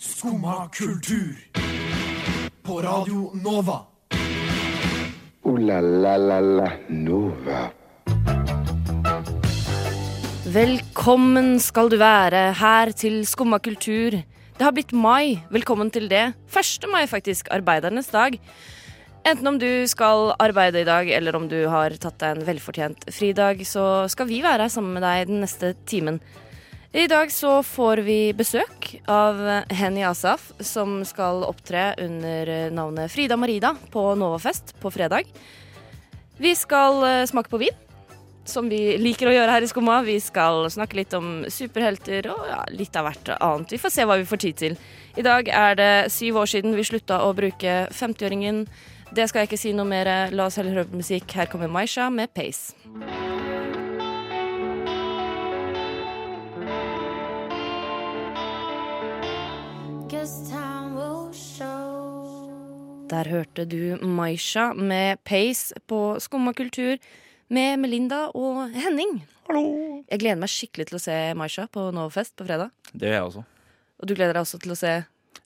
Skumma kultur. På Radio Nova. Ooh la la la la Nova. Velkommen skal du være her til Skumma kultur. Det har blitt mai. Velkommen til det. 1. mai, faktisk. Arbeidernes dag. Enten om du skal arbeide i dag, eller om du har tatt deg en velfortjent fridag, så skal vi være her sammen med deg den neste timen. I dag så får vi besøk av Henny Asaf, som skal opptre under navnet Frida Marida på Novafest på fredag. Vi skal eh, smake på vin som vi liker å gjøre her i Skumma. Vi skal snakke litt om superhelter og ja, litt av hvert annet. Vi får se hva vi får tid til. I dag er det syv år siden vi slutta å bruke 50-åringen. Det skal jeg ikke si noe mer. La oss heller høre på musikk. Her kommer Maisha med Pace. Guess time will show. Der hørte du Maisha med Pace på Skumma kultur med Melinda og Henning. Hallo. Jeg gleder meg skikkelig til å se Maisha på Novafest på fredag. Det gjør jeg også. Og du gleder deg også til å se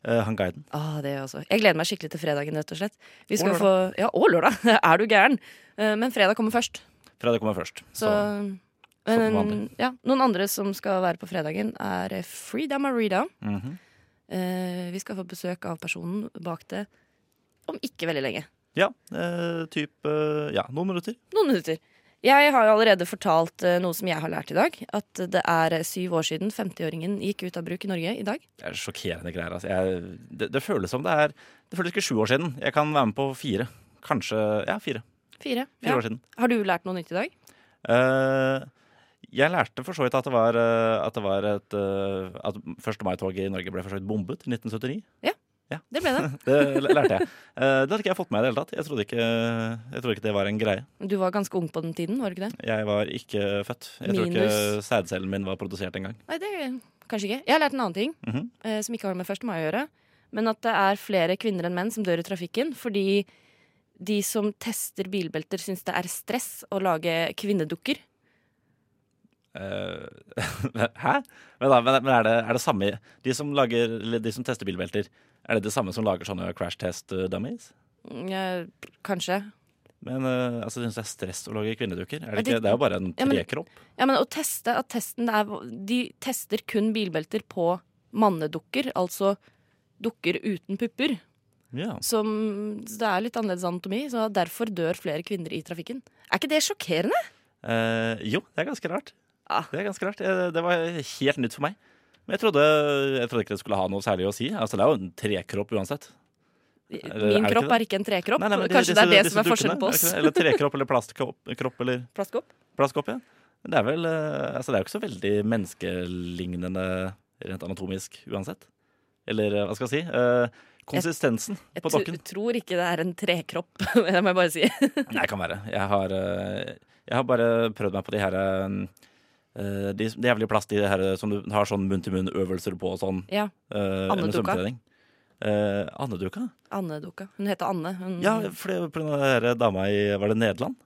Eh, han guiden. Ah, det gjør jeg også. Jeg gleder meg skikkelig til fredagen, rett og slett. Vi skal få, ja, og lørdag. Er du gæren? Eh, Men fredag kommer først. Fredag kommer først. Så, Så. men, Sånn. som vanlig. ja, noen andre som skal være på fredagen, er Frida Marida. mhm. Eh, vi skal få besøk av personen bak det om ikke veldig lenge. Ja, eh, typ eh, Ja, noen minutter. Noen minutter. Jeg har jo allerede fortalt eh, noe som jeg har lært i dag. At det er syv år siden 50-åringen gikk ut av bruk i Norge i dag. Det er sjokkerende greier. Altså. Jeg, det, det føles som det er Det føles ikke sju år siden. Jeg kan være med på fire. Kanskje Ja, fire. Fire. Fire Ja. år siden. Har du lært noe nytt i dag? Eh, jeg lærte for så vidt at det var, eh, at det var et eh, At 1. mai-toget i Norge ble for så vidt bombet i 1979. Det ble det. Det l- lærte jeg. Eh, det hadde ikke jeg fått med meg i det hele tatt. Jeg trodde, ikke, jeg trodde ikke det var en greie. Du var ganske ung på den tiden, var du ikke det? Jeg var ikke født. Jeg tror ikke Minus. sædcellen min var produsert engang. Nei, det kanskje ikke. Jeg har lært en annen ting Mhm. eh, som ikke har med 1. mai å gjøre. Men at det er flere kvinner enn menn som dør i trafikken fordi de som tester bilbelter, syns det er stress å lage kvinnedukker. Eh, Hæ? Men, da, men, men er, det, er det samme de som, lager, eller de som tester bilbelter, er det de samme som lager sånne crash test eh, dummies? Mm, eh, kanskje. Men eh, altså, jeg synes det er stress å lage kvinnedukker. Er Ja, det, de- ikke, det er jo bare en Ja, men- trekropp. Ja, men å teste at testen er De tester kun bilbelter på mannedukker, altså dukker uten pupper. Ja, Som så Det er litt annerledes anatomi, så derfor dør flere kvinner i trafikken. Er ikke det sjokkerende? Eh, jo, det er ganske rart. Ah. Det er ganske rart. Eh, Det var helt nytt for meg. Men jeg trodde, jeg trodde ikke det skulle ha noe særlig å si. Altså, det er jo en trekropp uansett. det Min ikke kropp det? er ikke en trekropp. Nei, nei, men de- Kanskje det er disse- det disse som er dukkene, forskjellen på oss. er det ikke det? Eller trekropp eller plastkropp kropp, eller Plastkopp? plastkopp, ja. Men det er vel eh, Altså, det er jo ikke så veldig menneskelignende rent anatomisk uansett. Eller eh, hva skal jeg si? Eh, konsistensen Jeg på tr- dokken. tror ikke det er en trekropp, det må jeg bare si. Nei, kan være. Jeg har, eh, jeg har bare prøvd meg på de her eh, de, de jævlige plast de her som du har sånn munn-til-munn-øvelser på og sånn. Ja, eh, under Andeduka. svømmetrening. Eh, Andeduka? Anne-dukka. Hun heter Anne. Hun... Ja, for det var på grunn av den her eh, dama i Var det Nederland?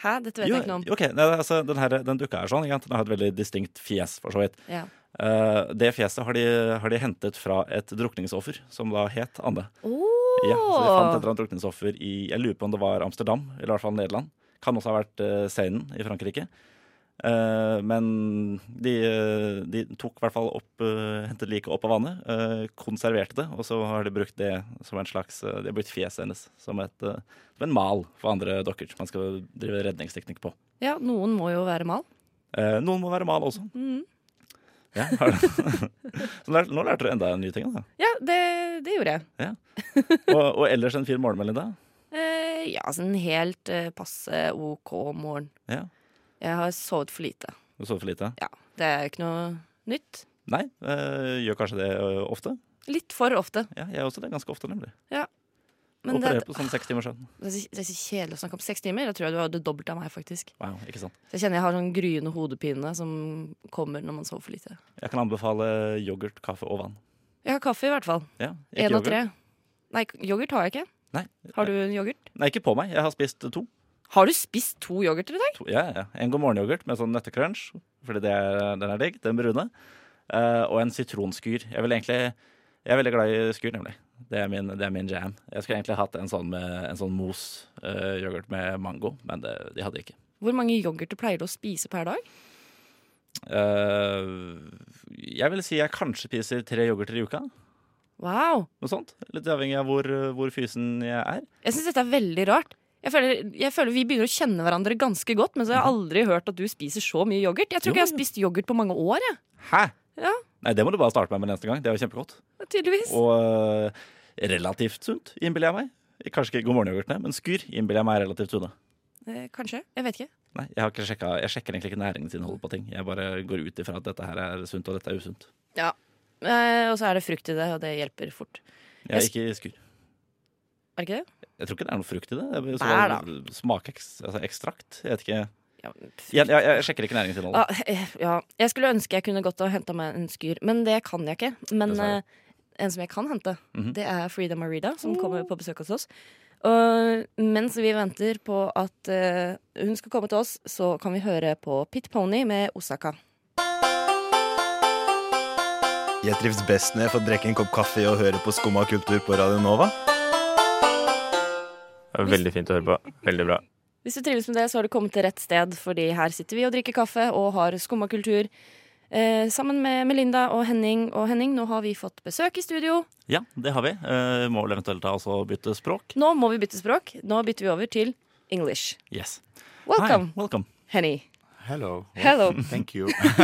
Hæ, dette vet jo, jeg ikke noe om. ok, nei, altså, den, her, den dukka er sånn. Ikke sant? Den har et veldig distinkt fjes, for så vidt. Ja. Eh, det fjeset har de, har de hentet fra et drukningsoffer som da het Anne. Ja, så de fant et eller annet drukningsoffer i Jeg lurer på om det var Amsterdam, eller i hvert fall Nederland. Kan også ha vært uh, Seinen i Frankrike. Eh, men de, eh, de tok i hvert fall opp eh, hentet liket opp av vannet, eh, konserverte det, og så har de brukt det som en slags eh, De har brukt fjeset hennes som, et, eh, som en mal for andre dokker som man skal drive redningsteknikk på. ja, noen må jo være mal. Eh, noen må være mal også. Mhm. Ja, har du- så lær- nå lærte du enda en ny ting. da Ja, det, det gjorde jeg. Og, og ellers en fin morgenmelding, da? Eh, ja, sånn helt eh, passe OK morgen. Ja. Jeg har sovet for lite. Du sover for lite? Ja, det er ikke noe nytt. Nei, eh, gjør kanskje det eh, ofte. Litt for ofte. Ja, jeg gjør også det ganske ofte, nemlig. Men det, Opererer er- på sånn seks timers søvn. det er så- det er så kjedelig å snakke om seks timer. Da tror jeg du har det dobbelt av meg, faktisk. Wow, ikke sant. Så jeg kjenner jeg har sånn gryende hodepine som kommer når man sover for lite. Jeg kan anbefale yoghurt, kaffe og vann. Jeg har kaffe, i hvert fall. Ja, ikke Én av yoghurt. tre. Nei, yoghurt har jeg ikke. Nei. Har du en yoghurt? Nei, ikke på meg. Jeg har spist to. Har du spist to yoghurter i dag? to ja, ja. En god morgen-yoghurt med sånn nøttecrunch, fordi det er, den er digg, den brune. Eh, og en sitronskyr. Jeg vil egentlig Jeg er veldig glad i skur, nemlig. Det er min, det er min jam. Jeg skulle egentlig hatt en sånn, med, en sånn mos eh, yoghurt med mango, men det, de hadde jeg ikke. Hvor mange yoghurter pleier du å spise per dag? Eh, jeg vil si jeg kanskje spiser tre yoghurter i uka. Wow. Noe sånt. Litt avhengig av hvor, hvor fysen jeg er. Jeg syns dette er veldig rart. Jeg føler, jeg føler Vi begynner å kjenne hverandre ganske godt, men så har jeg aldri hørt at du spiser så mye yoghurt. Jeg tror Jo, ikke jeg har jo. spist yoghurt på mange år. Jeg. Hæ? Ja. Nei, det må du bare starte med med neste gang. Det er jo kjempegodt. Tydeligvis. Og eh, relativt sunt, innbiller jeg meg. Kanskje ikke God morgen-yoghurtene, men skur innbiller jeg meg er relativt sunne. Eh, kanskje. Jeg vet ikke. Nei, jeg, har ikke sjekka, jeg sjekker egentlig ikke næringsinnholdet på ting. Jeg bare går ut ifra at dette her er sunt, og dette er usunt. Ja. Eh, og så er det frukt i det, og det hjelper fort. Jeg er Jeg- ikke i skur. Er det ikke det? Jeg tror ikke det er noe frukt i det. det er så, Nei Smakeks, altså ekstrakt. Jeg vet ikke. Ja, Jeg, jeg, jeg sjekker ikke næringsinnholdet. Ah, eh, ja. Jeg skulle ønske jeg kunne gått og henta meg en skyr, men det kan jeg ikke. Men Dessverre. eh, en som jeg kan hente, Mhm. det er Frida Marida, som kommer på besøk hos oss. Og mens vi venter på at eh, hun skal komme til oss, så kan vi høre på Pit Pony med Osaka. Jeg trives best når jeg får drikke en kopp kaffe og høre på Skumma kultur på Radio Nova. Det var veldig fint å høre på. Veldig bra. Hvis du trives med det, så har du kommet til rett sted, fordi her sitter vi og drikker kaffe og har skumma kultur. Eh, sammen med Melinda og Henning. Og Henning, nå har vi fått besøk i studio. Ja, det har vi. Eh, må vel eventuelt da også bytte språk. Nå må vi bytte språk. Nå bytter vi over til English. Yes. Welcome, Hi, welcome. Henny. Hello. Hello. Thank you.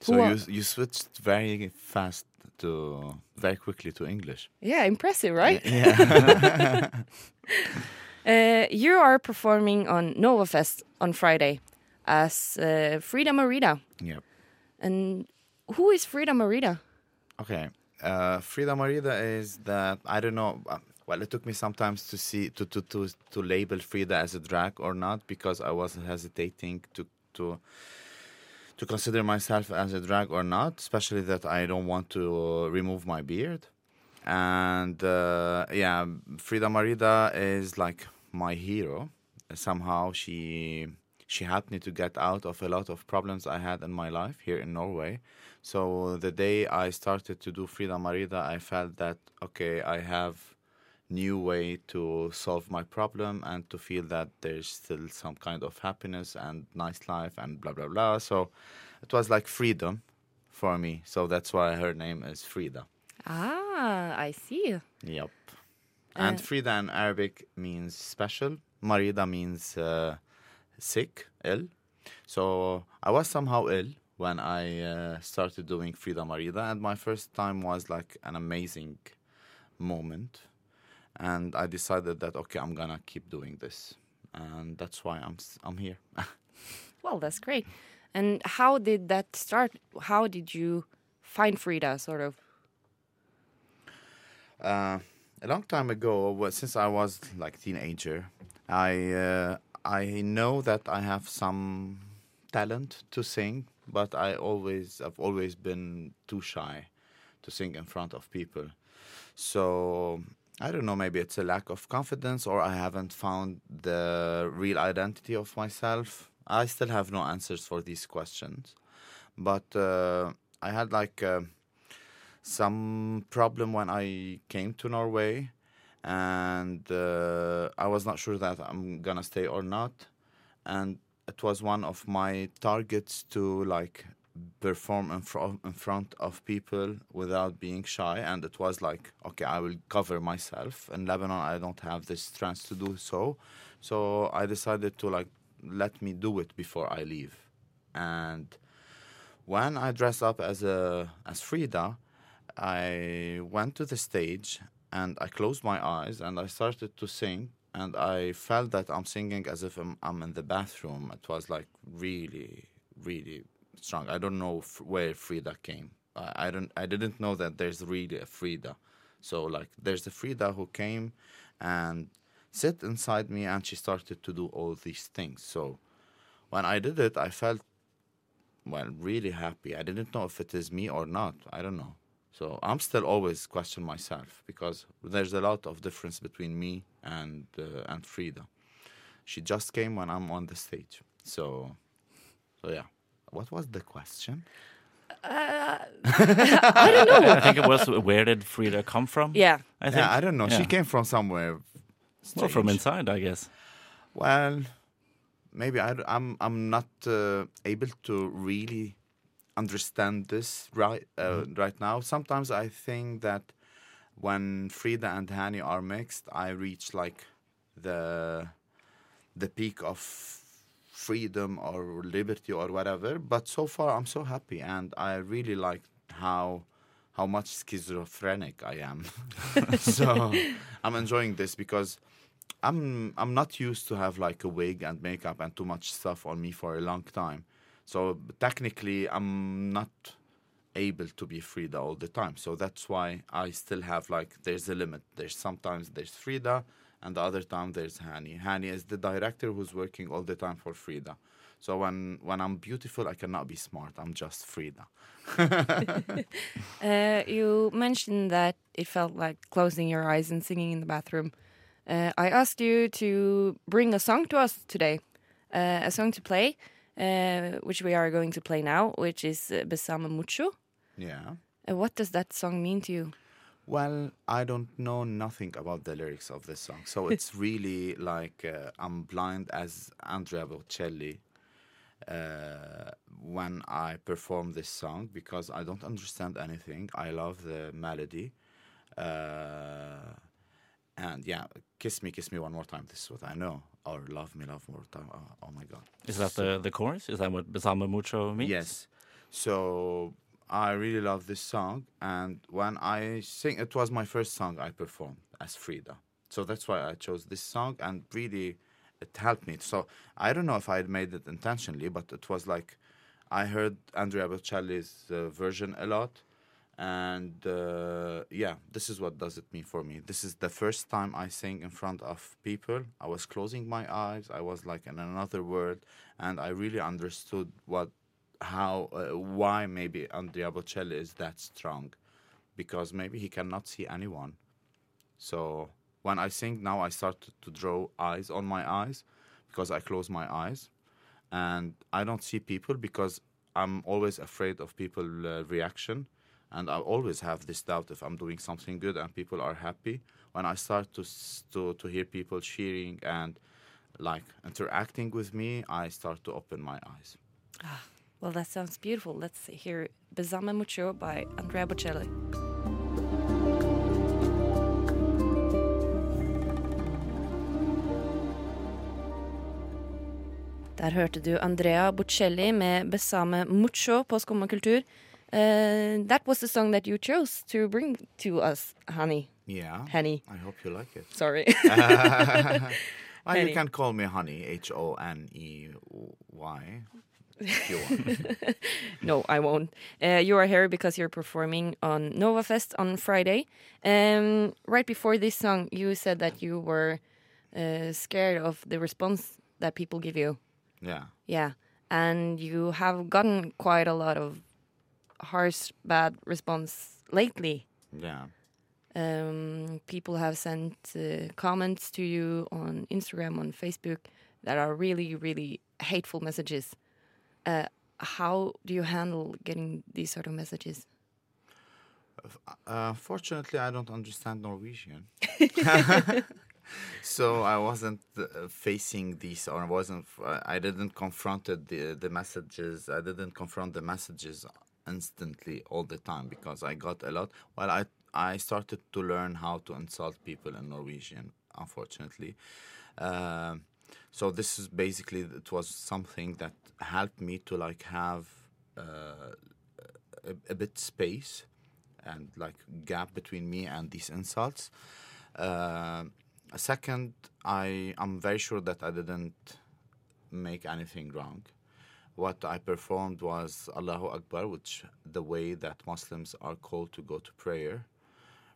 so Who are- you you switched very fast to very quickly to English. Yeah, impressive, right? uh, you are performing on Nova Fest on Friday as uh, Frida Marida. Yeah. And who is Frida Marida? Okay. Uh, Frida Marida is that I don't know. uh, Well, it took me sometimes to see to to to to label Frida as a drag or not because I was hesitating to to to consider myself as a drag or not, especially that I don't want to remove my beard. And uh, yeah, Frida Marida is like my hero. Somehow she she helped me to get out of a lot of problems I had in my life here in Norway. So the day I started to do Frida Marida, I felt that okay, I have new way to solve my problem and to feel that there's still some kind of happiness and nice life and blah blah blah. So it was like freedom for me. So that's why her name is Frida. Ah, I see. Yep. And Frida in Arabic means special. Marida means uh, sick, ill. So I was somehow ill when I uh, started doing Frida Marida, and my first time was like an amazing moment. And I decided that okay, I'm gonna keep doing this, and that's why I'm s- I'm here. Well, that's great. And how did that start? How did you find Frida, sort of? uh, a long time ago, well, since I was like teenager, I uh, I know that I have some talent to sing, but I always I've always been too shy to sing in front of people. So I don't know. Maybe it's a lack of confidence, or I haven't found the real identity of myself. I still have no answers for these questions, but uh, I had like. Uh, some problem when I came to Norway, and uh, I was not sure that I'm gonna stay or not, and it was one of my targets to like perform in, fro- in front of people without being shy and it was like okay i will cover myself in lebanon i don't have the strength to do so so i decided to like let me do it before i leave and when I dressed up as a as Frida, I went to the stage and I closed my eyes and I started to sing and I felt that I'm singing as if I'm, I'm in the bathroom. It was like really, really strong. I don't know f- where Frida came. I, I don't. I didn't know that there's really a Frida. So like, there's a Frida who came and sit inside me and she started to do all these things. So when I did it, I felt well, really happy. I didn't know if it is me or not. I don't know. So I'm still always question myself because there's a lot of difference between me and uh, and Frida. She just came when I'm on the stage. So, so yeah. What was the question? I think it was where did Frida come from? Yeah. I think. Yeah, I don't know. She Yeah. came from somewhere. Well, from strange. inside, I guess. Well, maybe I, am I'm not uh, able to really understand this right uh, right now. Sometimes I think that when Frida and Hani are mixed, I reach like the the peak of freedom or liberty or whatever. But so far, I'm so happy, and I really like how how much schizophrenic I am. so I'm enjoying this because I'm I'm not used to have like a wig and makeup and too much stuff on me for a long time. So technically, I'm not able to be Frida all the time. So that's why I still have like there's a limit. There's sometimes there's Frida, and the other time there's Hani. Hani is the director who's working all the time for Frida. So when when I'm beautiful, I cannot be smart. I'm just Frida. Uh, you mentioned that it felt like closing your eyes and singing in the bathroom. Uh, I asked you to bring a song to us today, uh, a song to play, uh, which we are going to play now, which is uh, Besame Mucho. Yeah. Uh, what does that song mean to you? Well, I don't know nothing about the lyrics of this song, so it's really like uh, I'm blind as Andrea Bocelli uh, when I perform this song because I don't understand anything. I love the melody, uh, and yeah, kiss me, kiss me one more time. This is what I know, or love me, love more time. Oh, oh my god, Is that the, the chorus? Is that what Besame Mucho means? Yes. So I really love this song, and when I sing, it was my first song I performed as Frida. So that's why I chose this song, and really, it helped me. So I don't know if I had made it intentionally, but it was like I heard Andrea Bocelli's uh, version a lot. And uh, yeah, this is what does it mean for me. This is the first time I sing in front of people. I was closing my eyes. I was like in another world, and I really understood what, how, uh, why maybe Andrea Bocelli is that strong, because maybe he cannot see anyone. So when I sing now, I start to draw eyes on my eyes because I close my eyes and I don't see people because I'm always afraid of people uh, reaction, and I always have this doubt if I'm doing something good and people are happy. When I start to s- to to hear people cheering and like interacting with me, I start to open my eyes. Well, that sounds beautiful. Let's hear Besame Mucho by Andrea Bocelli. Der hørte du Andrea Bocelli med 'Besame Mucho' på Skumma kultur. Eh, that was the song that you chose to bring to us, honey. Yeah, Honey, I hope you like it. sorry. Well, Honey. you can call me Honey, H O N E Y. if you want. No, I won't. Uh, you are here because you're performing on Nova Fest on Friday. Um, right before this song, you said that you were uh, scared of the response that people give you. yeah. Yeah. And you have gotten quite a lot of harsh, bad response lately. Yeah. Um, people have sent uh, comments to you on Instagram, on Facebook that are really, really hateful messages. Uh, how do you handle getting these sort of messages? Uh, fortunately, I don't understand Norwegian. so I wasn't uh, facing these, or I wasn't. I didn't confronted the the messages. I didn't confront the messages instantly all the time because I got a lot. Well, I I started to learn how to insult people in Norwegian. Unfortunately, um, so this is basically it was something that helped me to like have uh, a, a bit space and like gap between me and these insults. Uh, second, I am very sure that I didn't make anything wrong. What I performed was Allahu Akbar, which the way that Muslims are called to go to prayer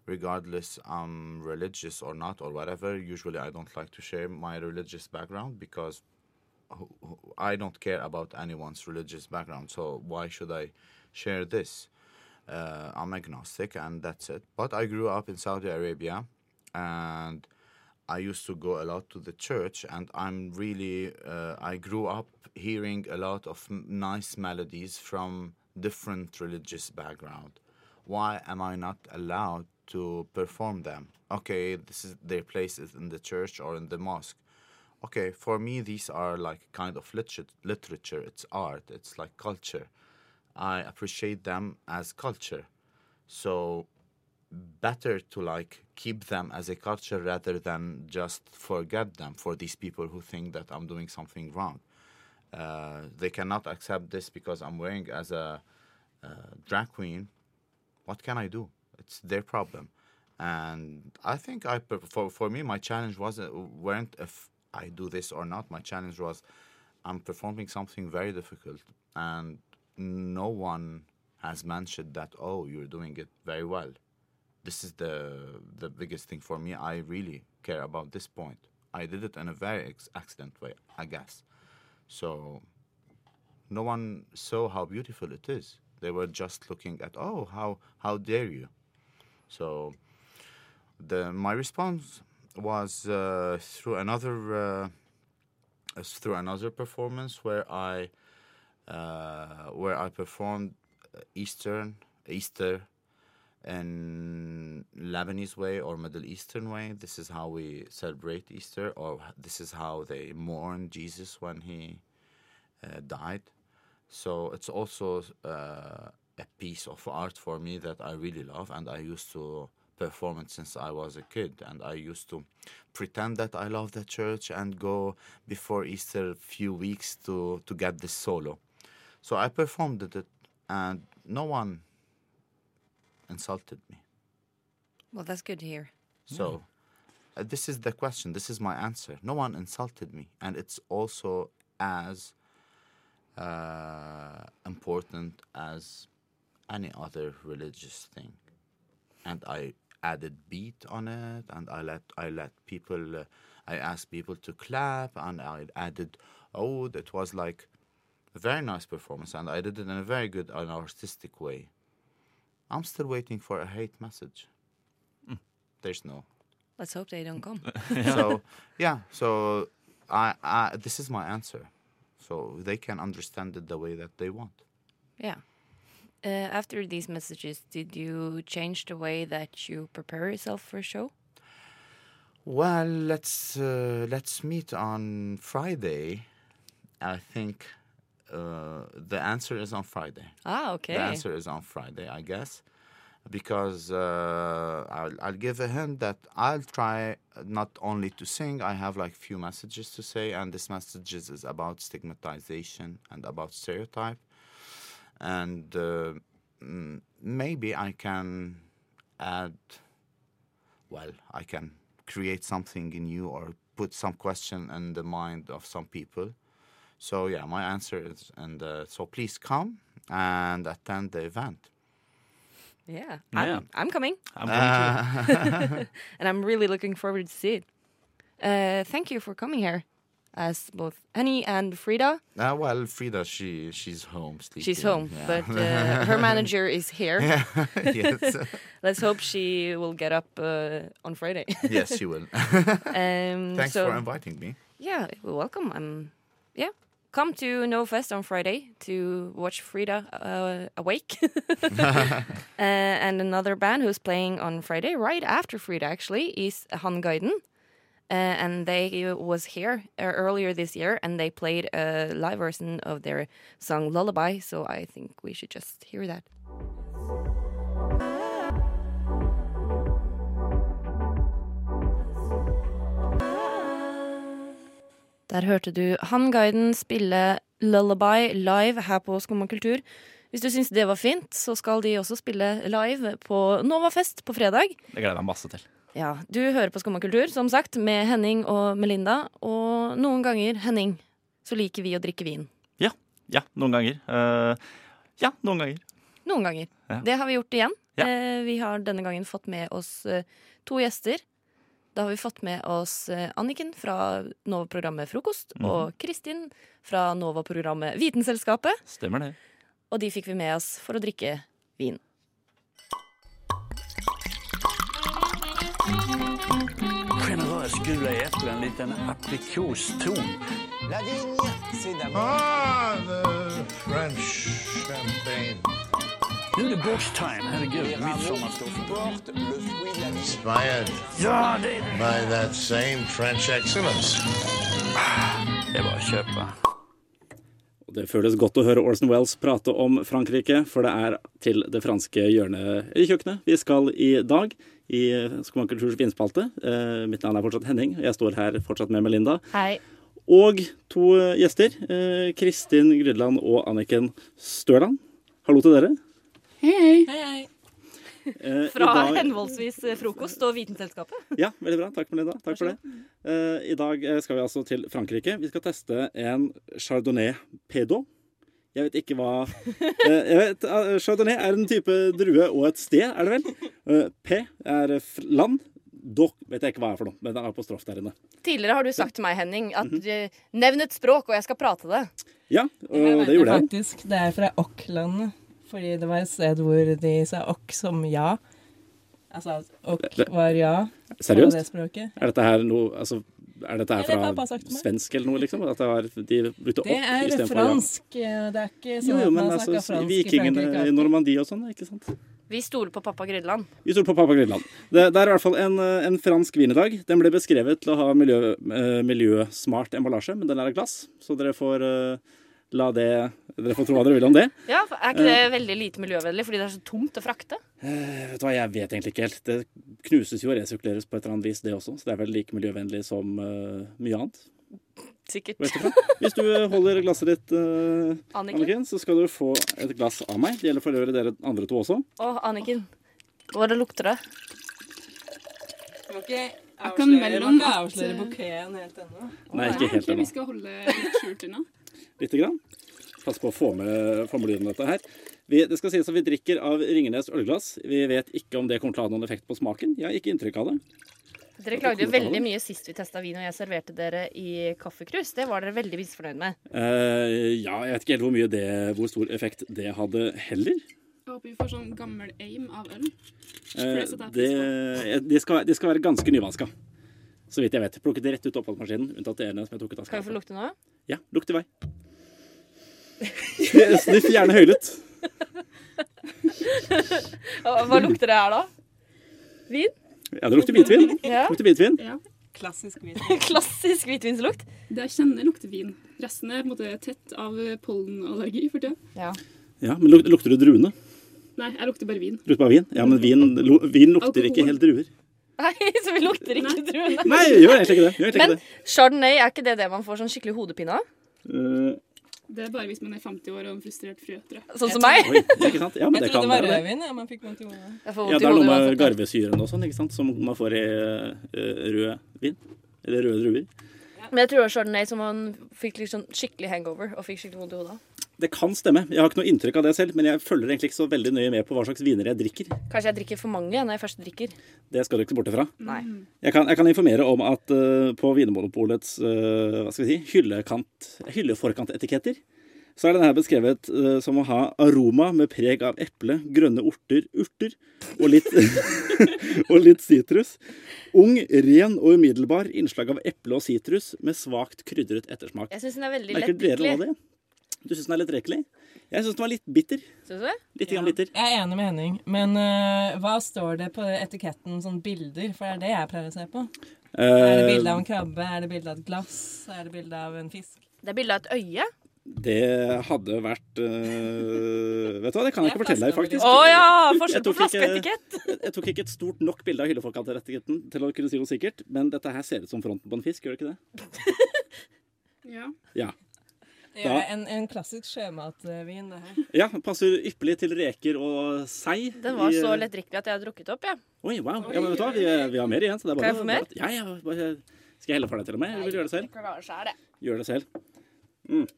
regardless I'm religious or not or whatever. Usually, I don't like to share my religious background because who- who- I don't care about anyone's religious background. So why should I share this? Uh, I'm agnostic, and that's it. But I grew up in Saudi Arabia, and I used to go a lot to the church, and I'm really, uh, I grew up hearing a lot of m- nice melodies from different religious background. Why am I not allowed to perform them? Okay, this is their place is in the church or in the mosque. Okay, for me these are like kind of liter- literature. It's art. It's like culture. I appreciate them as culture. So better to like keep them as a culture rather than just forget them for these people who think that I'm doing something wrong. Uh, they cannot accept this because I'm wearing as a uh, drag queen. What can I do? It's their problem, and I think I per- for for me my challenge wasn't weren't if I do this or not. My challenge was I'm performing something very difficult, and no one has mentioned that. Oh, you're doing it very well this is the the biggest thing for me. I really care about this point. I did it in a very ex- accident way, I guess. So no one saw how beautiful it is. They were just looking at, oh, how how dare you? So the my response was uh, through another uh, s- through another performance where I uh, where I performed uh, Eastern Easter in Lebanese way or Middle Eastern way. This is how we celebrate Easter, or this is how they mourn Jesus when he uh, died. So it's also uh, a piece of art for me that I really love, and I used to perform it since I was a kid. And I used to pretend that I love the church and go before Easter a few weeks to to get this solo. So I performed it, and no one insulted me. Well, that's good to hear. So uh, this is the question. This is my answer. No one insulted me, and it's also as uh, important as any other religious thing. And I added beat on it, and I let I let people. Uh, I asked people to clap, and I added. Oh, that was like a very nice performance, and I did it in a very good and artistic way. I'm still waiting for a hate message. There's no. Let's hope they don't come. So yeah, so I, I this is my answer. So they can understand it the way that they want. Yeah. Uh, after these messages, did you change the way that you prepare yourself for a show? Well, let's uh, let's meet on Friday. I think uh, the answer is on Friday. Ah, okay. The answer is on Friday, I guess, because uh, I'll, I'll give a hint that I'll try not only to sing. I have like few messages to say, and this messages is about stigmatization and about stereotype, and uh, mm, maybe I can add. Well, I can create something in you or put some question in the mind of some people. So yeah, my answer is, and uh, so please come and attend the event. Yeah. Yeah. I'm, I'm coming. I'm going to and I'm really looking forward to see it. Uh, thank you for coming here, as both Annie and Frida. Uh, well, Frida, she she's home sleeping. She's home, Yeah. but uh, her manager is here. yes, Let's hope she will get up uh, on Friday. yes, she will. um, Thanks so, for inviting me. yeah, you're welcome. Um, yeah, come to No Fest on Friday to watch Frida uh, awake uh, and another band who's playing on Friday right after Frida actually is Han Gaiden. Uh, and they was here uh, earlier this year, and they played a live version of their song "Lullaby." So I think we should just hear that. Der hørte du Handguiden spille Lullaby live her på Skumma kultur. Hvis du syns det var fint, så skal de også spille live på Novafest på fredag. Det gleder jeg meg masse til. Ja, Du hører på Skumma kultur, som sagt, med Henning og Melinda. Og noen ganger, Henning, så liker vi å drikke vin. Ja. Ja, noen ganger. Eh, ja, noen ganger. Noen ganger. Ja. Det har vi gjort igjen. Ja. Eh, vi har denne gangen fått med oss eh, to gjester. Da har vi fått med oss eh, Anniken fra Nova-programmet Frokost Mhm. og Kristin fra Nova-programmet Vitenselskapet. Stemmer det. Og de fikk vi med oss for å drikke vin. Generøst gula äpplen en liten aprikoston. Nu är det box time, herregud. Midsommarstånd. Ja, det är det. Ah, Det är bara att köpa. Og Det føles godt å høre Orson Wells prate om Frankrike, for det er til det franske hjørnet i kjøkkenet vi skal i dag. I Skomakulturs vinspalte. Eh, mitt navn er fortsatt Henning, og jeg står her fortsatt med Melinda. Hei. Og to eh, gjester. Eh, Kristin Grydland og Anniken Størland. Hallo til dere. Hei, hei. Eh, i Fra dag- henholdsvis eh, frokost og Vitenselskapet. ja, veldig bra. Takk, Melinda. Takk for det. Eh, I dag eh, skal vi altså til Frankrike. Vi skal teste en chardonnay pedo. Jeg vet ikke hva Eh, jeg vet, eh, Chardonnay er en type drue og et sted, er det vel? Eh, P er eh, f- land. Doc vet jeg ikke hva er for noe, men det er apostrof der inne. Tidligere har du sagt til meg, Henning, at Mhm. eh, nevn et språk, og jeg skal prate det. Ja, og Mm, det gjorde jeg. Faktisk, det er fra Okk-landet. Fordi det var et sted hvor de sa okk som ja. Altså at okk var ja på det Seriøst? språket. Er dette her noe altså, Er dette her Nei, det har jeg fra bare sagt til meg. svensk eller noe, liksom? At det var, de brukte opp Det er istedenfor ja? fransk. eh, Det er ikke Jo, sånn jo, men at man altså, snakker fransk i vikingene i Frankrike. Normandie og sånn, ikke sant? Vi stoler på pappa Grydland. Vi stoler på pappa Grydland. Det, det er i hvert fall en, eh, en fransk vin i dag. Den ble beskrevet til å ha miljø, eh, miljøsmart emballasje, men den er av glass, så dere får eh, la det Dere får tro hva dere vil om det. Ja, for Er ikke det Mhm. veldig lite miljøvennlig fordi det er så tungt å frakte? Eh, Vet du hva, Jeg vet egentlig ikke helt. Det knuses jo og resirkuleres på et eller annet vis, det også, så det er vel like miljøvennlig som eh, mye annet. Sikkert. vet dere. Hvis du holder glasset ditt, eh, Anniken. Anniken, så skal du få et glass av meg. Det gjelder for øvrig dere andre to også. Å, Anniken. Hva det lukter det? Må ikke avsløre, må ikke avsløre bukeen helt ennå. Nei, ikke helt ennå. Vi skal holde litt skjult unna. Lite grann. Pass på å få med, få med lyden av dette her. Vi, det skal sies at vi drikker av Ringenes ølglass. Vi vet ikke om det kommer til å ha noen effekt på smaken. Jeg har ikke inntrykk av det. Dere klagde jo veldig mye sist vi testa vin, og jeg serverte dere i kaffekrus. Det var dere veldig misfornøyd med. Eh, ja, jeg vet ikke helt hvor mye det Hvor stor effekt det hadde heller. Jeg håper vi får sånn gammel aim av øl. det, de, skal, de skal være ganske nyvaska. Så vidt jeg vet. Plukket rett ut av oppvaskmaskinen. Unntatt det ene som jeg tok ut av Kan vi få skapet. lukte nå? Ja, lukt i vei. Sniff gjerne høylytt. Hva hva lukter det her, da? Vin? Ja, det lukter hvitvin. Ja. Lukter hvitvin. Klassisk hvit. Klassisk hvitvinslukt. Ja, men luk lukter det druene? Nei, jeg lukter bare vin. Lukter bare vin? Ja, men vin, lu- vin lukter ikke helt druer. Nei, så vi lukter ikke druene. Nei, gjør egentlig ikke det. Gjør egentlig Men ikke det. chardonnay, er ikke det det man får sånn skikkelig hodepine av? Eh, Sånn som meg? oi, ikke sant? Ja, men Jeg det trodde kan det var være det. rødvin, ja, man fikk vondt i hodet. Jeg får Ja, vondt det i er noe hodet med uansett. garvesyren og sånn, ikke sant, som man får i eh, rød vin. Eller røde druer. Men jeg tror det var chardonnay som man fikk litt sånn skikkelig hangover og fikk skikkelig vondt i hodet av. Det kan stemme. Jeg har ikke noe inntrykk av det selv, men jeg følger egentlig ikke så veldig nøye med på hva slags viner jeg drikker. Kanskje jeg drikker for mange når jeg først drikker. Det skal du ikke se bort ifra. Nei. Jeg kan, jeg kan informere om at eh, på Vinmonopolets eh, hva skal vi si, hyllekant, hylleforkantetiketter så er den her beskrevet eh, som å ha aroma med preg av eple, grønne orter, urter og litt, og litt sitrus. Ung, ren og umiddelbar innslag av eple og sitrus med svakt krydret ettersmak. Jeg syns den er veldig Merker dere lettdrikkelig. noe av det? Du syns den er litt rekelig? Jeg syns den var litt bitter. Syns du det? Litt grann bitter. Jeg er enig med Henning, men øh, hva står det på etiketten sånn bilder? For det er det jeg pleier å se på. Er Eh, det bilde av en krabbe? Er det bilde av et glass? Er det bilde av en fisk? Det er bilde av et øye. Det hadde vært eh, Vet du hva, det kan jeg ikke Jeg fortelle deg, flasker faktisk. Å ja! Forskjell Jeg på tok ikke- flaskeetikett. Jeg tok ikke et stort nok bilde av hyllefolkanterettigheten til å kunne si noe sikkert, men dette her ser ut som fronten på en fisk, gjør det ikke det? ja. Det Da- er en, en klassisk sjømatvin, det her. Ja, passer ypperlig til reker og sei. Den var i- så lettdrikkelig at jeg har drukket opp, jeg. Oi, wow. Ja, men vet du hva, vi, vi har mer igjen, så det er bare Kan jeg få mer? Ja, ja, bare... Skal jeg helle for deg til og med, eller vil du gjøre det selv? Gjør det selv.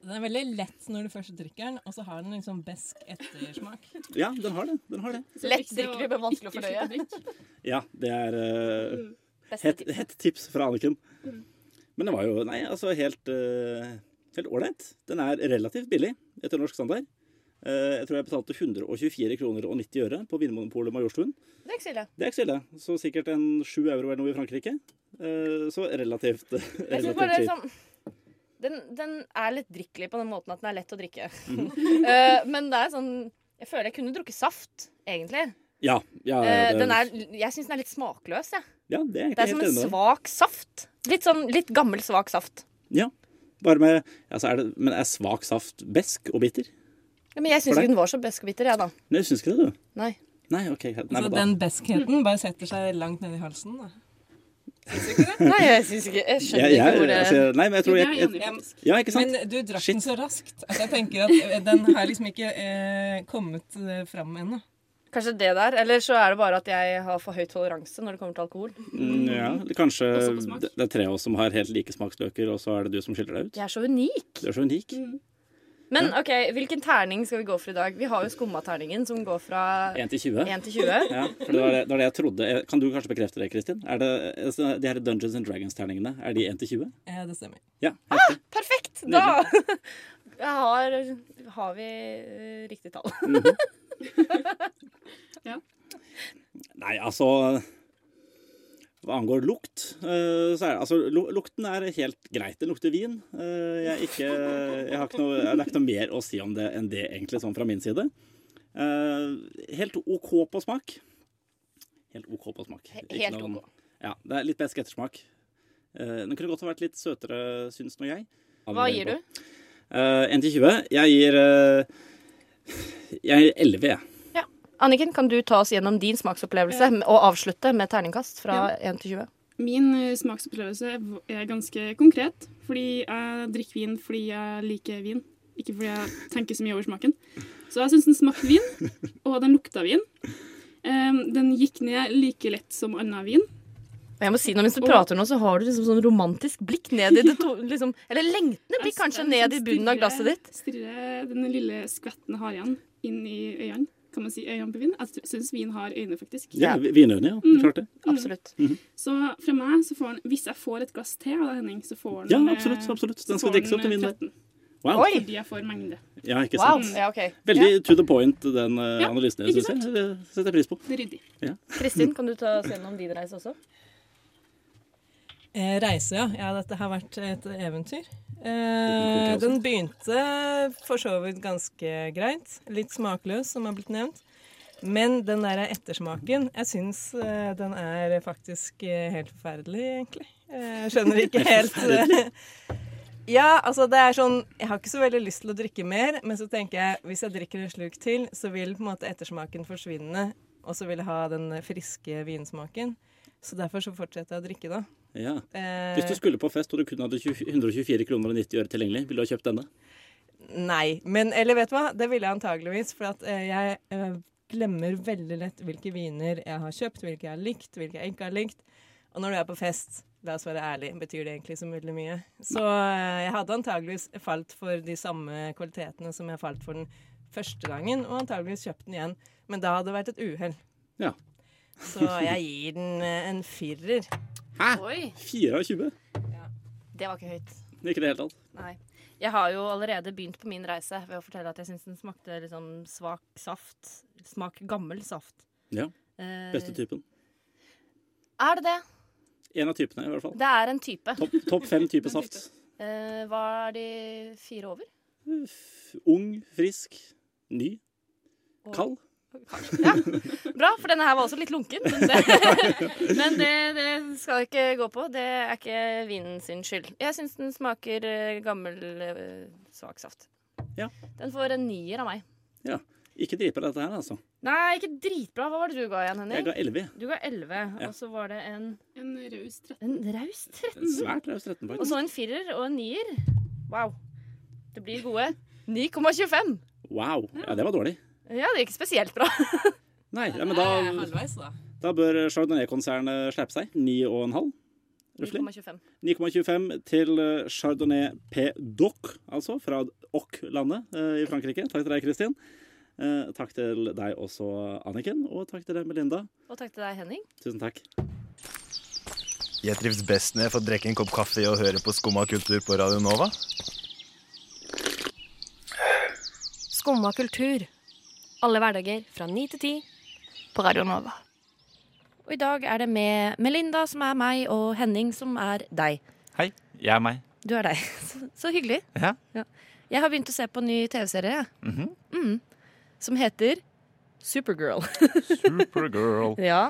Den er veldig lett når du først drikker den, og så har den en sånn besk ettersmak. Ja, den har det. Den har det. Lettdrikkelig, men vanskelig å fordøye. Ja, det er eh, Beste hett, tips. hett tips fra Anniken. Mm. Men den var jo Nei, altså helt eh, Helt ålreit. Den er relativt billig etter norsk standard. Eh, Jeg tror jeg betalte 124 kroner og 90 øre på Vinmonopolet Majorstuen. Det er ikke så ille. Det er ikke så ille. Så sikkert en 7 euro eller noe i Frankrike. Eh, Så relativt, Jeg synes bare relativt det er cheap. sånn den, den er litt drikkelig på den måten at den er lett å drikke. Mhm. Eh, men det er sånn Jeg føler jeg kunne drukket saft, egentlig. Ja, ja, Eh, det- den er, jeg syns den er litt smakløs, jeg. ja, det er, Det er som en svak svak saft. Litt sånn litt gammel, svak saft. Ja. Bare med, altså er det, men er svak saft besk og bitter? Ja, men jeg For syns deg? ikke den var så besk og bitter, jeg, da. Nei, syns ikke det, du. Nei. Nei, ok. Altså, greit. Nei, Så men da. Altså, den beskheten bare setter seg langt ned i halsen, da. Nei, jeg syns ikke Jeg skjønner Jeg- jeg- ikke hvor det altså, nei, men jeg tror Jo, det er jeg- jeg- enig, faktisk. Ja, ikke sant? Men du drakk den så raskt at jeg tenker at eh, den har liksom ikke eh, kommet eh, fram ennå. Kanskje det der. Eller så er det bare at jeg har for høy toleranse når det kommer til alkohol. Mm, ja, eller kanskje det det er tre av oss som har helt like smaksløker, og så er det du som skiller deg ut. Jeg er så unik. Du er så unik. Men ok, hvilken terning skal vi gå for i dag? Vi har jo skummaterningen som går fra 1 til 20. 1 til 20. Ja, for det var det, det var det jeg trodde. Eh, Kan du kanskje bekrefte det, Kristin? Er det, altså, de her Dungeons and Dragons-terningene, er de 1 til 20? Ja, Eh, det stemmer. Ja. Perfekt! Da har, har vi eh, riktig tall. Nei, altså Hva angår lukt, eh, så er det altså lu- Lukten er helt greit. Det lukter vin. Eh, Jeg er ikke jeg har ikke noe, Det er ikke noe mer å si om det enn det, egentlig, sånn fra min side. Eh, Helt OK på smak. Helt OK på smak. He- Ikke helt noe- OK. Ja, det er litt besk ettersmak. Eh, Den kunne godt ha vært litt søtere, syns nå jeg. Hva gir du? Eh, 1 til 20. Jeg gir eh, Jeg gir 11, jeg. Ja. Anniken, kan du ta oss gjennom din smaksopplevelse og avslutte med terningkast fra 1 til 20? Min eh, smaksopplevelse er ganske konkret. Fordi jeg drikker vin fordi jeg liker vin, ikke fordi jeg tenker så mye over smaken. Så jeg syns den smakte vin, og den lukta vin. Em, den gikk ned like lett som annen vin. Og jeg må si noe, Mens du Og- prater nå, så har du liksom sånn romantisk blikk ned i det to, liksom, Eller lengtende blikk, kanskje, ned i bunnen av glasset ditt. Stirre den lille skvetten jeg har igjen, inn i øynene. Kan man si øynene på vin? Jeg syns vin har øyne, faktisk. Ja, vi- Vinøyne, ja. Det er klart det. Absolutt. Mhm. Så fra meg, så får han, hvis jeg får et glass te av deg, Henning, så får han Ja, eh, absolutt, absolutt. Den så skal får drikkes opp han, til vin, eh, da. 13. Wow. Oi! Fordi jeg får mengde. Ja, ikke Wow. sant. Ja, ok. Veldig to the point, den eh, Ja, analysen ikke din, syns jeg. sant? Det setter jeg pris på. Det er ryddig. Ja. Kristin, kan du ta oss gjennom din reise også? Eh, reise, ja. ja. Dette har vært et eventyr. Liten Eh, konkurranse. den begynte for så vidt ganske greit. Litt smakløs, som har blitt nevnt. Men den der ettersmaken Jeg syns eh, den er faktisk eh, helt forferdelig, egentlig. Eh, Jeg skjønner ikke Helt helt eh, Ja, altså det er sånn Jeg har ikke så veldig lyst til å drikke mer, men så tenker jeg hvis jeg drikker en slurk til, så vil på en måte ettersmaken forsvinne, og så vil jeg ha den friske vinsmaken. Så derfor så fortsetter jeg å drikke, da. Ja. Eh, Hvis du skulle på fest og du kun hadde 20 124 kroner og 90 øre tilgjengelig, ville du ha kjøpt denne? Nei. Men eller vet du hva, det ville jeg antageligvis, for at eh, jeg eh, glemmer veldig lett hvilke viner jeg har kjøpt, hvilke jeg har likt, hvilke jeg ikke har likt. Og når du er på fest, la oss være ærlig, betyr det egentlig så mulig mye. Så eh, jeg hadde antageligvis falt for de samme kvalitetene som jeg falt for den første gangen, og antageligvis kjøpt den igjen. Men da hadde det vært et uhell. Ja. Så jeg gir den eh, en firer. Hæ? Oi. 4 av 20? Det var ikke høyt. Ikke i det hele tatt. Nei. Jeg har jo allerede begynt på min reise ved å fortelle at jeg syns den smakte liksom svak saft. Smak gammel saft. Ja. Eh, Beste typen. Er det det? En av typene, i hvert fall. Det er en type. Topp topp fem typer saft. Eh, hva er de fire over? Ung, frisk, ny, Og- kald. Ja, bra, for denne her var også litt lunken. Men det, men det, det skal jeg ikke gå på. Det er ikke vinen sin skyld. Jeg syns den smaker eh, gammel eh, svak saft. Ja. Den får en nier av meg. Ja. Ikke dripe dette her, altså. Nei, ikke dritbra. Hva var det du ga igjen, Henning? Jeg ga 11. Du ga 11, Ja. og så var det en En raus 13. En raus 13. Svært raus 13 Mhm. Og så poeng. en firer og en nier. Wow. Det blir gode 9,25. Wow. Ja, det var dårlig. Ja, det gikk spesielt bra. Nei, ja, men da, Halvveis, da. da bør Chardonnay-konsernet slippe seg. 9,5. Røftlig. 9,25. 9,25 til eh, Chardonnay P-Doc, altså, fra Oc-landet eh, i Frankrike. Takk til deg, Kristin. Eh, Takk til deg også, Anniken. Og takk til deg, Melinda. Og takk til deg, Henning. Tusen takk. Jeg trives best når jeg får drikke en kopp kaffe og høre på Skumma kultur på Radio Nova. Skumma kultur. Alle hverdager fra ni til ti på Radio Nova. Og i dag er det med Melinda, som er meg, og Henning, som er deg. Hei, jeg er meg. Du er deg. Så, så hyggelig. Ja. Ja. Jeg har begynt å se på en ny TV-serie jeg. Mhm. mm, som heter Supergirl. Supergirl. ja.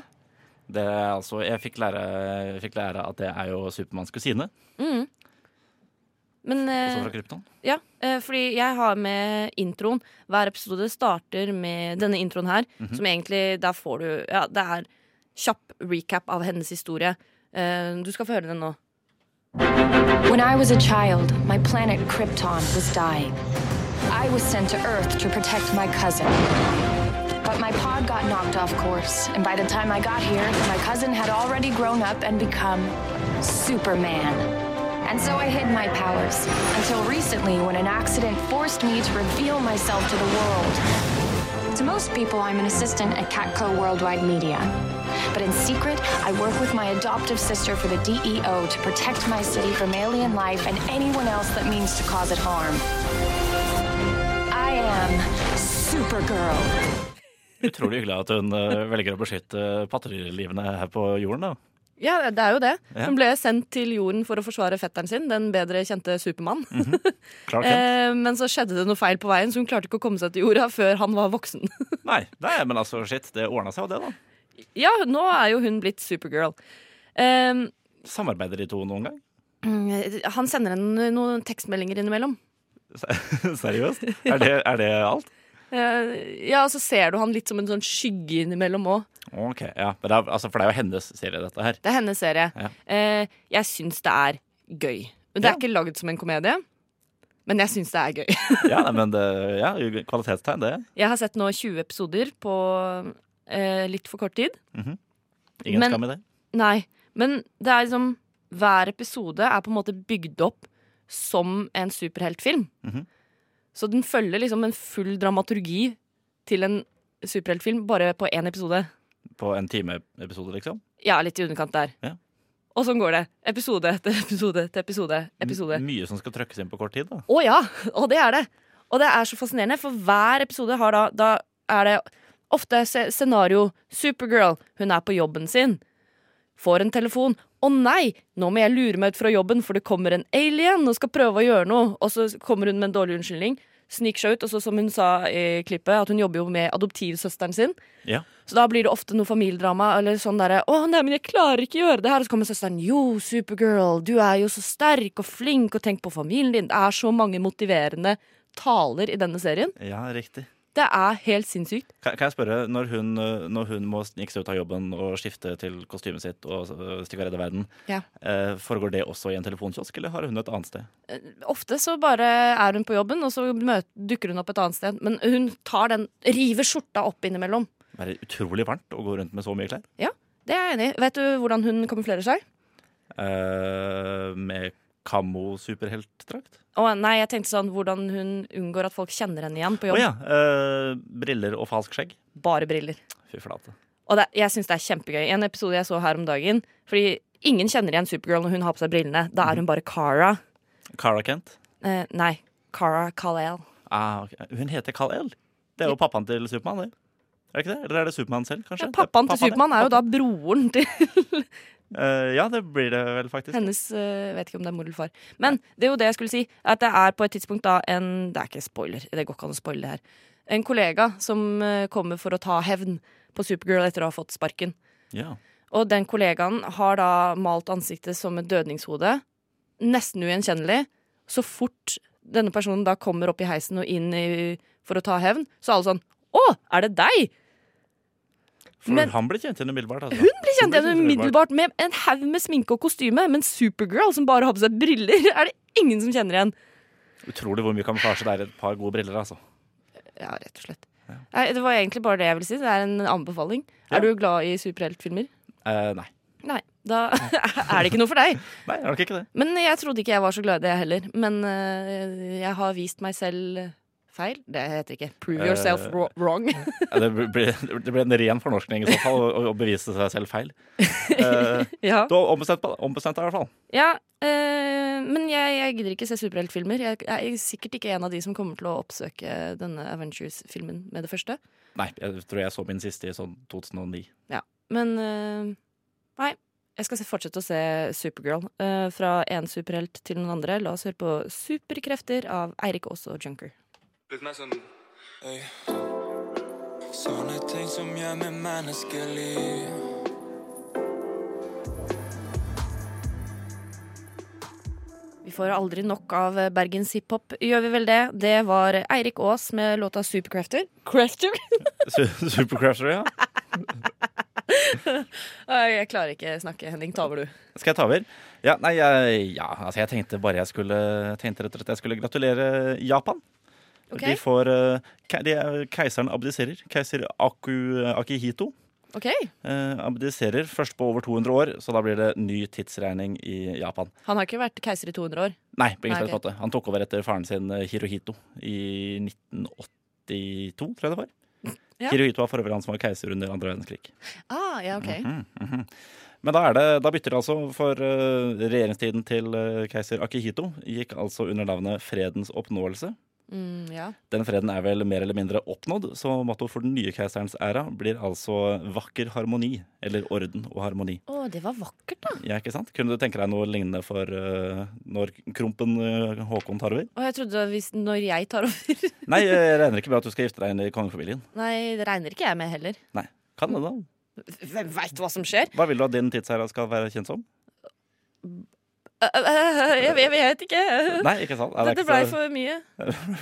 Det er altså, jeg fikk lære, jeg fikk lære at det er jo Supermanns kusine. Mm. Men eh, Også fra Krypton. Ja, eh, fordi jeg har med introen. Hver episode starter med denne introen her. Mhm. Som egentlig, der får du Ja, det er kjapp recap av hennes historie. Eh, du skal få høre den nå. When I was a child, my planet Krypton was dying. I was sent to Earth to protect my cousin. But my pod got knocked off course, and by the time I got here, my cousin had already grown up and become Superman. And so I hid my powers until recently when an accident forced me to reveal myself to the world. To most people, I'm an assistant at Catco Worldwide Media. But in secret, I work with my adoptive sister for the DEO to protect my city from alien life and anyone else that means to cause it harm. I am Supergirl. Utrolig hyggelig at hun eh, velger å beskytte patterlivene her på jorden. da. Ja, det er jo det. Ja. Hun ble sendt til jorden for å forsvare fetteren sin, den bedre kjente Supermann. Clark Kent. Eh, men så skjedde det noe feil på veien, så hun klarte ikke å komme seg til jorda før han var voksen. Nei, nei, men altså, shit, det ordna seg jo det, da. ja, nå er jo hun blitt Supergirl. Ehm, Samarbeider de to noen gang? mm, han sender henne noen tekstmeldinger innimellom. Seriøst? Er det, er det alt? Eh, ja, og så ser du han litt som en sånn skygge innimellom òg. Ok, ja. Men det er, altså, for det er jo hennes serie, dette her. Det er hennes serie. Ja. Eh, jeg syns det er gøy. Men Det er ikke lagd som en komedie, men jeg syns det er gøy. Ja, nei, men det, ja, kvalitetstegn, det. Jeg har sett nå 20 episoder på eh, litt for kort tid. Mhm. Ingen Men- skam i det. Nei, men det er liksom Hver episode er på en måte bygd opp som en superheltfilm. Mhm. Så den følger liksom en full dramaturgi til en superheltfilm bare på én episode. På en time-episode, liksom. Ja, litt i underkant der. Ja. Og sånn går det. Episode etter episode etter episode. episode. M- Mye som skal trøkkes inn på kort tid, da. Å ja, og det er det. Og det er så fascinerende, for hver episode har da, da er det ofte se- scenario Supergirl, hun er på jobben sin, får en telefon. Å nei, nå må jeg lure meg ut fra jobben, for det kommer en alien og skal prøve å gjøre noe. Og så kommer hun med en dårlig unnskyldning, sniker seg ut, og så som hun sa i klippet, at hun jobber jo med adoptivsøsteren sin. Ja. Så da blir det ofte noe familiedrama eller sånn derre 'Å nei, men jeg klarer ikke gjøre det her.' Og så kommer søsteren 'Jo, Supergirl, du er jo så sterk og flink, og tenk på familien din.' Det er så mange motiverende taler i denne serien. ja, riktig. Det er helt sinnssykt. Kan, kan jeg spørre, når hun, eh, når hun må snike seg ut av jobben og skifte til kostymet sitt og eh, stikke og redde verden, Ja. eh, foregår det også i en telefonkiosk, eller har hun et annet sted? Eh, Ofte så bare er hun på jobben, og så møt- dukker hun opp et annet sted. Men hun tar den, river skjorta opp innimellom. Det er utrolig varmt å gå rundt med så mye klær. Ja, det er jeg enig i. Vet du hvordan hun kamuflerer seg? Eh, med kamo-superheltdrakt. Å nei, jeg tenkte sånn hvordan hun unngår at folk kjenner henne igjen på Å jobb. ja. eh, briller og falsk skjegg. Bare briller. Fy flate. Og det, jeg syns det er kjempegøy. En episode jeg så her om dagen Fordi ingen kjenner igjen Supergirl når hun har på seg brillene. Da er hun Mm. bare Cara. Cara Kent. Eh, nei, Cara Kal-El. Ah, ok. Hun heter Kal-El. Det er jo pappaen til Supermann, det. Er det ikke det? Eller er det Supermann selv, kanskje? Det er Pappaen til Supermann er jo Pappa- da broren til Eh, ja, det blir det vel, faktisk. hennes eh, Vet ikke om det er mor eller far. Men det er jo det jeg skulle si. At det er på et tidspunkt da en Det er ikke spoiler, det går ikke an å spoile det her. En kollega som eh, kommer for å ta hevn på Supergirl etter å ha fått sparken. Ja. Og den kollegaen har da malt ansiktet som et dødningshode. Nesten ugjenkjennelig. Så fort denne personen da kommer opp i heisen og inn i, for å ta hevn, så er alle sånn Å, er det deg? For Men- han ble kjent igjen umiddelbart. Altså. Hun blir kjent igjen umiddelbart. umiddelbart med en haug med sminke og kostyme, men Supergirl, som bare har på seg briller, er det ingen som kjenner igjen. Utrolig hvor mye kamuflasje det er i et par gode briller, altså. Ja, rett og slett. Nei, det var egentlig bare det jeg ville si. Det er en anbefaling. Er du glad i superheltfilmer? Eh, nei. Nei. Da er det ikke noe for deg. Nei, er nok ikke det. eh, Men jeg trodde ikke jeg var så glad i det, jeg heller. Men øh, jeg har vist meg selv Feil? Det heter ikke. Prove yourself wro- wrong. Ja, det, ble, det ble en ren fornorskning i så fall, å, å bevise seg selv feil. Eh, Ja. Du har ombestemt deg, ombestemt deg i hvert fall. Ja, eh, men jeg, jeg gidder ikke se superheltfilmer. Jeg er sikkert ikke en av de som kommer til å oppsøke denne Avengers-filmen med det første. Nei, jeg tror jeg så min siste i sånn 2009. Ja, men eh, Nei, jeg skal se, fortsette å se Supergirl. eh, fra én superhelt til noen andre. La oss høre på Superkrefter av Eirik Aas og Junker. Litt mer sånn Øy. Sånne ting som gjør meg menneskelig. Vi får aldri nok av eh, Bergens hiphop, gjør vi vel det? Det var Eirik Aas med låta Superkrefter. Crafter? Su- Supercrasher, ja. jeg klarer ikke snakke, Henning. Ta over, du. Skal jeg ta over? Ja, nei, jeg, ja, altså jeg tenkte bare jeg skulle tenkte rett og slett jeg skulle gratulere Japan. Ok. De får eh, ke- de, er- Keiseren abdiserer. Keiser Aku, eh, Akihito OK. eh, abdiserer først på over 200 år, så da blir det ny tidsregning i Japan. Han har ikke vært keiser i 200 år. Nei, på ingen Nei, slags ok. måte. Han tok over etter faren sin eh, Hirohito i 1982, tror jeg det var. Ja. Hirohito var for øvrig han som var keiser under andre verdenskrig. Ah, ja, ok. Mhm, mhm. Men da, er det, da bytter det altså, for eh, regjeringstiden til eh, keiser Akihito gikk altså under navnet Fredens oppnåelse. Mm, ja. Den freden er vel mer eller mindre oppnådd, så motto for den nye keiserens æra blir altså vakker harmoni, eller orden og harmoni. Å, det var vakkert, da. Ja, ikke sant? Kunne du tenke deg noe lignende for eh, når Krompen eh, Håkon tar over? Og jeg trodde hvis, når jeg tar over Nei, jeg regner ikke med at du skal gifte deg inn i kongefamilien. Nei, det regner ikke jeg med heller. Nei, kan det da. Hvem veit hva som skjer? Hva vil du at din tidsherre skal være kjent som? Ø, ø, ø, Jeg vet, jeg vet ikke. Nei, ikke sant? Nei, det er Dette ikke blei så- for mye.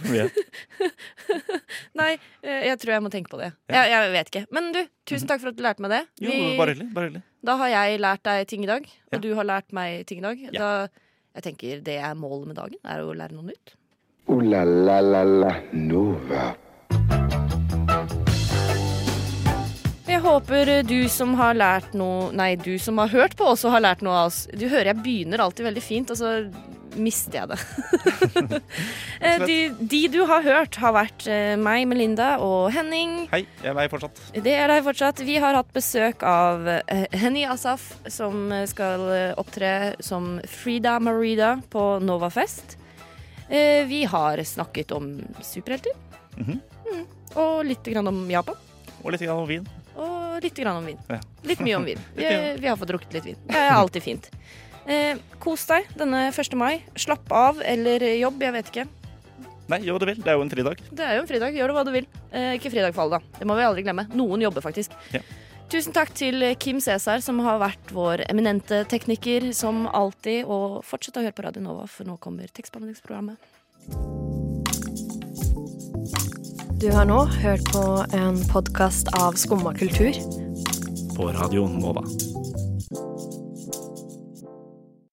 Mye. Nei, eh, jeg tror jeg må tenke på det. Jeg, jeg vet ikke. Men du, tusen takk for at du lærte meg det. Jo, Vi- bare hyggelig. Bare hyggelig. Da har jeg lært deg ting i dag, og du har lært meg ting i dag. Da, jeg tenker det er målet med dagen, er å lære noe nytt. Ooh la la la la Nova. Jeg håper du som har lært noe Nei, du som har hørt på, også har lært noe av oss. Du hører jeg begynner alltid veldig fint, og så mister jeg det. Eh, de, de du har hørt, har vært eh, meg, Melinda og Henning. Hei, jeg er meg fortsatt. Det er deg fortsatt. Vi har hatt besøk av eh, Henny Asaf, som skal eh, opptre som Frida Marida på Novafest. Eh, Vi har snakket om superhelter. Mhm. Mm, Og litt grann om Japan. Og litt grann om vin. Og litt grann om vin. Ja. Litt mye om vin. Vi, Litt mye. vi har fått drukket litt vin. Det er alltid fint. Eh, Kos deg denne 1. mai. Slapp av eller jobb, jeg vet ikke. Nei, jo, det vil. Det er jo en fridag. Det er jo en fridag. Gjør det hva du vil. Eh, ikke fridag for alle, da. Det må vi aldri glemme. Noen jobber faktisk. Ja. Tusen takk til Kim Cæsar, som har vært vår eminente tekniker som alltid. Og fortsett å høre på Radio Nova, for nå kommer tekstbehandlingsprogrammet. Du har nå hørt på en podkast av Skumma kultur. På radioen Nova.